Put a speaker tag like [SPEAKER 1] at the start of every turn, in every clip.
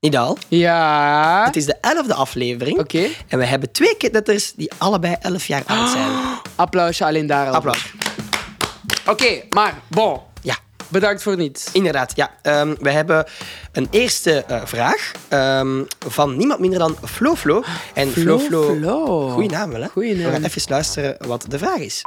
[SPEAKER 1] Nidal.
[SPEAKER 2] Ja.
[SPEAKER 1] Het is de elfde aflevering.
[SPEAKER 2] Oké.
[SPEAKER 1] En we hebben twee kidnetters die allebei elf jaar oud
[SPEAKER 2] Oh.
[SPEAKER 1] zijn.
[SPEAKER 2] Applausje alleen daar al.
[SPEAKER 1] Applaus.
[SPEAKER 2] Oké, maar bon.
[SPEAKER 1] Ja,
[SPEAKER 2] Bedankt voor niets.
[SPEAKER 1] inderdaad. Ja. Ehm, we hebben een eerste eh, vraag ehm, van niemand minder dan Flo Flo. En Flo Flo...
[SPEAKER 2] Flo.
[SPEAKER 1] Goeie naam wel, hè?
[SPEAKER 2] Goeie
[SPEAKER 1] We
[SPEAKER 2] naam.
[SPEAKER 1] gaan even luisteren wat de vraag is.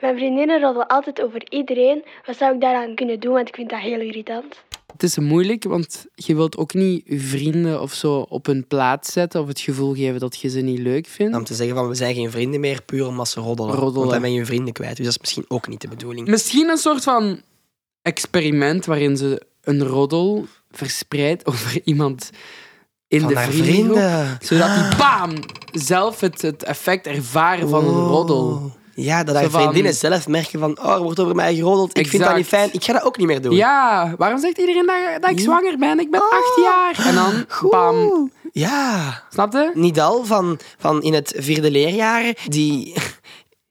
[SPEAKER 3] Mijn vriendinnen roddelen altijd over iedereen. Wat zou ik daaraan kunnen doen? Want ik vind dat heel irritant.
[SPEAKER 2] Het is moeilijk, want je wilt ook niet je vrienden of zo op hun plaats zetten of het gevoel geven dat je ze niet leuk vindt.
[SPEAKER 1] Om te zeggen van, we zijn geen vrienden meer, puur omdat ze roddelen.
[SPEAKER 2] Roddelen. Mm,
[SPEAKER 1] Want dan ben je je vrienden kwijt. Dus dat is misschien ook niet de bedoeling.
[SPEAKER 2] Misschien een soort van experiment waarin ze een roddel verspreidt over iemand in
[SPEAKER 1] van
[SPEAKER 2] de
[SPEAKER 1] haar
[SPEAKER 2] vriendengroep,
[SPEAKER 1] vrienden.
[SPEAKER 2] Zodat die bam zelf het, het effect ervaren van een
[SPEAKER 1] Oh.
[SPEAKER 2] roddel.
[SPEAKER 1] Ja, dat
[SPEAKER 2] Zo
[SPEAKER 1] haar
[SPEAKER 2] van-
[SPEAKER 1] vriendinnen zelf merken van... Oh, er wordt over mij geroddeld. Ik vind dat niet
[SPEAKER 2] Exact.
[SPEAKER 1] fijn. Ik ga dat ook niet meer doen.
[SPEAKER 2] Ja, waarom zegt iedereen dat, dat ik zwanger ben? Ik ben acht
[SPEAKER 1] Ah.
[SPEAKER 2] jaar. En dan, bam.
[SPEAKER 1] Oeh. Ja.
[SPEAKER 2] Snap je?
[SPEAKER 1] Nidal van, van in het vierde leerjaar, die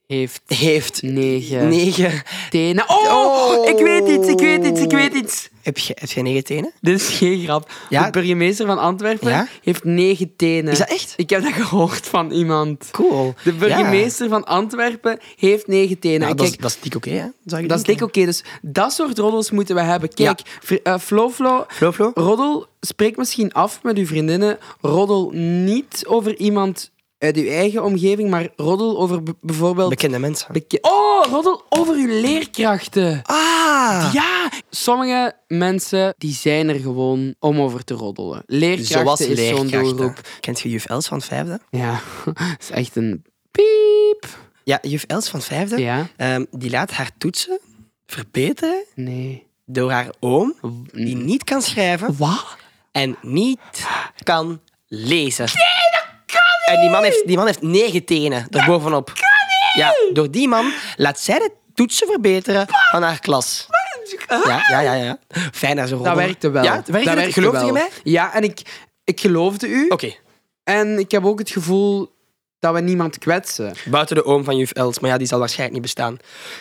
[SPEAKER 2] Heeft
[SPEAKER 1] heeft
[SPEAKER 2] negen
[SPEAKER 1] negen...
[SPEAKER 2] tenen. Oh,
[SPEAKER 1] Oh.
[SPEAKER 2] ik weet iets, ik weet iets, ik weet iets.
[SPEAKER 1] Heb je, heb je negen tenen?
[SPEAKER 2] Dit is geen grap.
[SPEAKER 1] Ja.
[SPEAKER 2] De burgemeester van Antwerpen
[SPEAKER 1] Ja?
[SPEAKER 2] heeft negen tenen.
[SPEAKER 1] Is dat echt?
[SPEAKER 2] Ik heb dat gehoord van iemand.
[SPEAKER 1] Cool.
[SPEAKER 2] De burgemeester van Antwerpen heeft negen
[SPEAKER 1] Ja.
[SPEAKER 2] tenen. En
[SPEAKER 1] Nou, dat, is,
[SPEAKER 2] kijk,
[SPEAKER 1] dat is dik oké, hè? Zou je
[SPEAKER 2] dat is dik
[SPEAKER 1] denken.
[SPEAKER 2] oké. Dus dat soort roddels moeten we hebben. Kijk, vri- eh, Flo Flo,
[SPEAKER 1] Flo, Flo?
[SPEAKER 2] roddel, spreek misschien af met uw vriendinnen. Roddel niet over iemand uit uw eigen omgeving, maar roddel over b- bijvoorbeeld...
[SPEAKER 1] Bekende mensen.
[SPEAKER 2] beke- oh, roddel over uw leerkrachten.
[SPEAKER 1] ah!
[SPEAKER 2] Ja, sommige mensen die zijn er gewoon om over te roddelen. Leerkrachten
[SPEAKER 1] Zoals
[SPEAKER 2] is zo'n
[SPEAKER 1] leerkrachten.
[SPEAKER 2] doelgroep.
[SPEAKER 1] Kent je juf Els van het vijfde?
[SPEAKER 2] Ja, dat is echt een piep.
[SPEAKER 1] Ja, juf Els van het vijfde.
[SPEAKER 2] Ja,
[SPEAKER 1] ehm, die laat haar toetsen verbeteren
[SPEAKER 2] nee.
[SPEAKER 1] door haar oom, die niet kan schrijven
[SPEAKER 2] Wat?
[SPEAKER 1] en niet kan lezen. Nee, dat kan niet! En die man heeft, die man heeft negen tenen erbovenop. Dat Ja, door die man laat zij de toetsen verbeteren van haar klas. Ja, ja, ja. ja. Fijn dat ze
[SPEAKER 2] Dat werkte wel.
[SPEAKER 1] Ja, het werkte, het.
[SPEAKER 2] dat werkte
[SPEAKER 1] Geloofde je
[SPEAKER 2] wel.
[SPEAKER 1] mij?
[SPEAKER 2] Ja, en ik, ik geloofde u.
[SPEAKER 1] Oké,
[SPEAKER 2] En ik heb ook het gevoel dat we niemand kwetsen.
[SPEAKER 1] buiten de oom van juf Els, maar ja, die zal waarschijnlijk niet bestaan.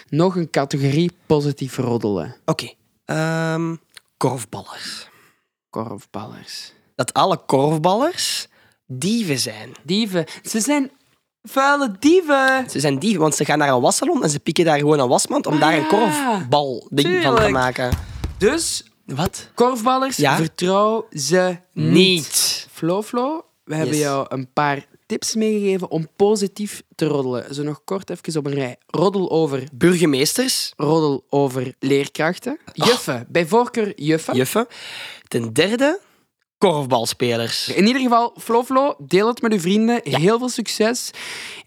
[SPEAKER 2] Nog een categorie positief roddelen.
[SPEAKER 1] Oké, ehm, korfballers.
[SPEAKER 2] Korfballers.
[SPEAKER 1] Dat alle korfballers dieven zijn.
[SPEAKER 2] Dieven. Ze zijn vuile dieven.
[SPEAKER 1] Ze zijn dieven, want ze gaan naar een wassalon en ze pikken daar gewoon een wasmand om daar een
[SPEAKER 2] ja.
[SPEAKER 1] korfbal ding van te
[SPEAKER 2] Tuurlijk.
[SPEAKER 1] maken.
[SPEAKER 2] Dus,
[SPEAKER 1] Wat?
[SPEAKER 2] korfballers,
[SPEAKER 1] Ja?
[SPEAKER 2] vertrouw ze niet.
[SPEAKER 1] Niet.
[SPEAKER 2] Flo Flo, we hebben
[SPEAKER 1] Yes.
[SPEAKER 2] jou een paar tips meegegeven om positief te roddelen. Zo nog kort even op een rij. Roddel over,
[SPEAKER 1] Burgemeesters,
[SPEAKER 2] roddel over leerkrachten. Juffen, bij voorkeur juffen.
[SPEAKER 1] juffen. Ten derde, korfbalspelers.
[SPEAKER 2] In ieder geval, Flo Flo, deel het met uw vrienden. Heel veel succes.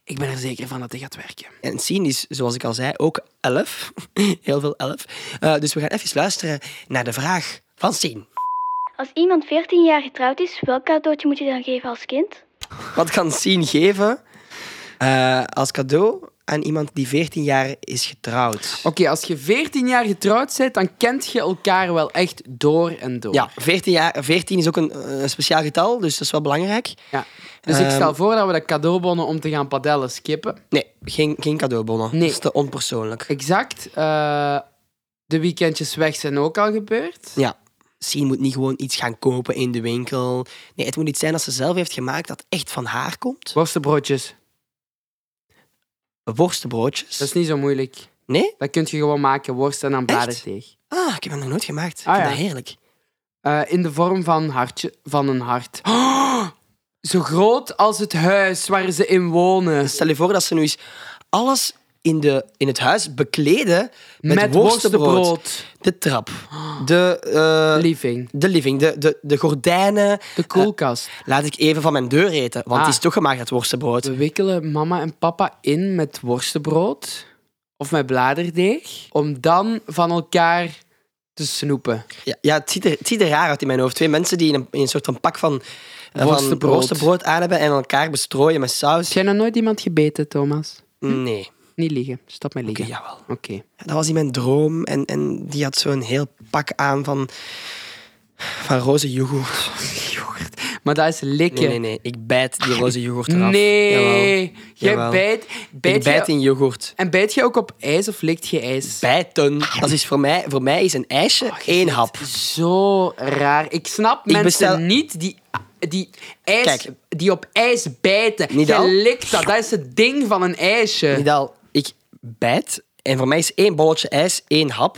[SPEAKER 2] Ik ben er zeker van dat dit gaat werken.
[SPEAKER 1] En Sien is, zoals ik al zei, ook elf. Heel veel elf. Eh, dus we gaan even luisteren naar de vraag van Sien.
[SPEAKER 3] Als iemand 14 jaar getrouwd is, welk cadeautje moet je dan geven als kind?
[SPEAKER 1] Wat kan Sien geven eh, als cadeau aan iemand die 14 jaar is getrouwd?
[SPEAKER 2] Oké, als je 14 jaar getrouwd bent, dan kent je elkaar wel echt door en door.
[SPEAKER 1] Ja, 14, jaar, 14 is ook een, eh, een speciaal getal, dus dat is wel belangrijk.
[SPEAKER 2] Ja. Dus ik stel voor dat we de cadeaubonnen om te gaan padellen skippen.
[SPEAKER 1] Nee, geen, geen cadeaubonnen.
[SPEAKER 2] Nee.
[SPEAKER 1] Dat is te onpersoonlijk.
[SPEAKER 2] Exact. eh, de weekendjes weg zijn ook al gebeurd.
[SPEAKER 1] Ja. Sien moet niet gewoon iets gaan kopen in de winkel. Nee, het moet iets zijn dat ze zelf heeft gemaakt dat echt van haar komt.
[SPEAKER 2] Worstenbroodjes.
[SPEAKER 1] Worstenbroodjes.
[SPEAKER 2] Dat is niet zo moeilijk.
[SPEAKER 1] Nee?
[SPEAKER 2] Dat kun je gewoon maken, worst en dan bladerdeeg.
[SPEAKER 1] Ah, ik heb dat nog nooit gemaakt. Ik
[SPEAKER 2] Ah,
[SPEAKER 1] vind
[SPEAKER 2] ja.
[SPEAKER 1] dat heerlijk.
[SPEAKER 2] Eh, in de vorm van, hartje, van een hart. Oh, zo groot als het huis waar ze in wonen.
[SPEAKER 1] Stel je voor dat ze nu eens alles in, de, in het huis bekleden met, worstenbrood. De trap, de, eh,
[SPEAKER 2] Living.
[SPEAKER 1] de living, de, de, de gordijnen.
[SPEAKER 2] De koelkast.
[SPEAKER 1] Laat ik even van mijn deur eten, want
[SPEAKER 2] Ah.
[SPEAKER 1] het is toch gemaakt uit worstenbrood.
[SPEAKER 2] We wikkelen mama en papa in met worstenbrood of met bladerdeeg. Om dan van elkaar te snoepen.
[SPEAKER 1] Ja, ja het, ziet er, het ziet er raar uit in mijn hoofd. Twee mensen die in een, in een soort van pak van, eh, van
[SPEAKER 2] Worstenbrood.
[SPEAKER 1] worstenbrood aan hebben en elkaar bestrooien met
[SPEAKER 2] Heb
[SPEAKER 1] saus.
[SPEAKER 2] jij nog nooit iemand gebeten, Thomas?
[SPEAKER 1] Nee.
[SPEAKER 2] Niet liegen. Stop met
[SPEAKER 1] Oké,
[SPEAKER 2] liegen.
[SPEAKER 1] jawel.
[SPEAKER 2] Oké.
[SPEAKER 1] Dat was in mijn droom en, en die had zo'n heel pak aan van, van roze yoghurt.
[SPEAKER 2] Yoghurt. Maar dat is likken.
[SPEAKER 1] Nee, nee, nee. Ik bijt die roze yoghurt eraf. Jawel.
[SPEAKER 2] Nee, jij
[SPEAKER 1] Jawel.
[SPEAKER 2] bijt. bijt
[SPEAKER 1] ik
[SPEAKER 2] jij-
[SPEAKER 1] bijt in yoghurt.
[SPEAKER 2] En bijt je ook op ijs of likt je ijs?
[SPEAKER 1] Bijten. Dat is voor mij, voor mij is een ijsje
[SPEAKER 2] Oh,
[SPEAKER 1] één hap.
[SPEAKER 2] Zo raar. Ik snap mensen
[SPEAKER 1] bestel-
[SPEAKER 2] niet die, die, ijs,
[SPEAKER 1] Kijk.
[SPEAKER 2] die op ijs bijten.
[SPEAKER 1] Niet al?
[SPEAKER 2] Jij likt dat. Dat is het ding van een ijsje.
[SPEAKER 1] Nidal, ik bijt en voor mij is één bolletje ijs één hap.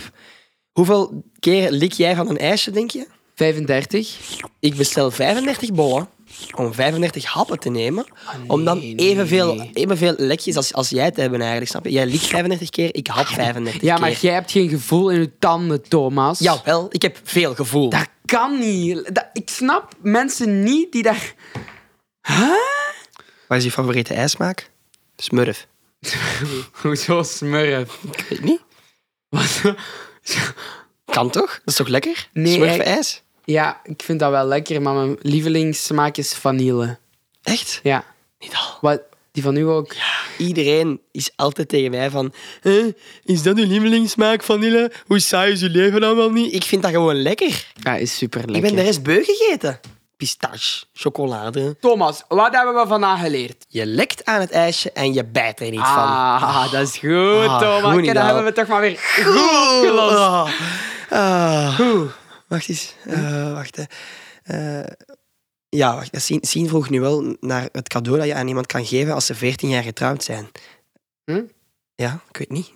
[SPEAKER 1] Hoeveel keer lik jij van een ijsje, denk je?
[SPEAKER 2] 35.
[SPEAKER 1] Ik bestel 35 bollen om 35 happen te nemen. om dan
[SPEAKER 2] Ah, nee,
[SPEAKER 1] evenveel,
[SPEAKER 2] nee.
[SPEAKER 1] evenveel lekjes als, als jij te hebben eigenlijk, snap je? Jij likt 35 keer, ik hap 35
[SPEAKER 2] Ah, Ja,
[SPEAKER 1] keer.
[SPEAKER 2] maar jij hebt geen gevoel in je tanden, Thomas.
[SPEAKER 1] Jawel, ik heb veel gevoel.
[SPEAKER 2] Dat kan niet. Dat- ik snap mensen niet die daar...
[SPEAKER 1] Wat is je favoriete ijsmaak? Smurf.
[SPEAKER 2] Hoezo smurf?
[SPEAKER 1] Ik weet niet.
[SPEAKER 2] Wat?
[SPEAKER 1] Kan toch? Dat is toch lekker?
[SPEAKER 2] Nee,
[SPEAKER 1] Smurf
[SPEAKER 2] ik-
[SPEAKER 1] ijs?
[SPEAKER 2] Ja, ik vind dat wel lekker, maar mijn lievelingssmaak is vanille.
[SPEAKER 1] Echt?
[SPEAKER 2] Ja.
[SPEAKER 1] Niet al.
[SPEAKER 2] Wat, die van u ook?
[SPEAKER 1] Iedereen is altijd tegen mij van... "Hè, is dat uw lievelingssmaak, vanille? Hoe saai is uw leven dan wel niet? Ik vind dat gewoon lekker.
[SPEAKER 2] Ja, is super lekker.
[SPEAKER 1] Ik ben de rest beu gegeten. Pistache, chocolade.
[SPEAKER 2] Thomas, wat hebben we vandaag geleerd?
[SPEAKER 1] Je lekt aan het ijsje en je bijt er niet van.
[SPEAKER 2] Ah, dat is goed,
[SPEAKER 1] Ah,
[SPEAKER 2] Thomas.
[SPEAKER 1] goed,
[SPEAKER 2] Kijk, dat
[SPEAKER 1] Nidal.
[SPEAKER 2] hebben we toch maar weer goed opgelost.
[SPEAKER 1] Ah. Ah. Wacht eens. Eh, wacht, hè. Eh, ja, wacht. Sien, Sien vroeg nu wel naar het cadeau dat je aan iemand kan geven als ze 14 jaar getrouwd zijn.
[SPEAKER 2] Hm?
[SPEAKER 1] Ja, ik weet niet.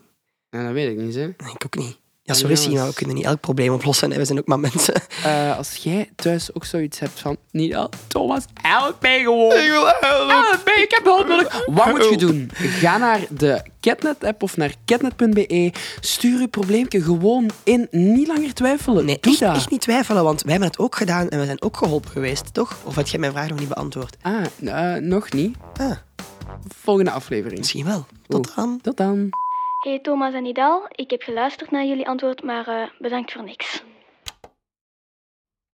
[SPEAKER 2] Ja, dat weet ik niet, hè.
[SPEAKER 1] Nee, Ik ook niet. Ja, sorry
[SPEAKER 2] jongens.
[SPEAKER 1] Sien, maar we kunnen niet elk probleem oplossen. hè. We zijn ook maar mensen.
[SPEAKER 2] Eh, als jij thuis ook zoiets hebt van... Niet al, Thomas, help mij gewoon.
[SPEAKER 1] Ah,
[SPEAKER 2] Help mij, ik heb hulp nodig. Wat moet je doen? Ga naar de Catnet-app of naar catnet.be. Stuur je probleempje gewoon in. Niet langer twijfelen.
[SPEAKER 1] Nee,
[SPEAKER 2] Doe
[SPEAKER 1] echt,
[SPEAKER 2] dat.
[SPEAKER 1] echt niet twijfelen, want wij hebben het ook gedaan en we zijn ook geholpen geweest, toch? Of had jij mijn vraag nog niet beantwoord?
[SPEAKER 2] Ah, eh, nog niet.
[SPEAKER 1] Ah,
[SPEAKER 2] Volgende aflevering.
[SPEAKER 1] misschien wel. Tot
[SPEAKER 2] Oeh.
[SPEAKER 1] dan.
[SPEAKER 2] Tot dan.
[SPEAKER 3] Hey Thomas en Nidal, ik heb geluisterd naar jullie antwoord, maar eh, bedankt voor niks.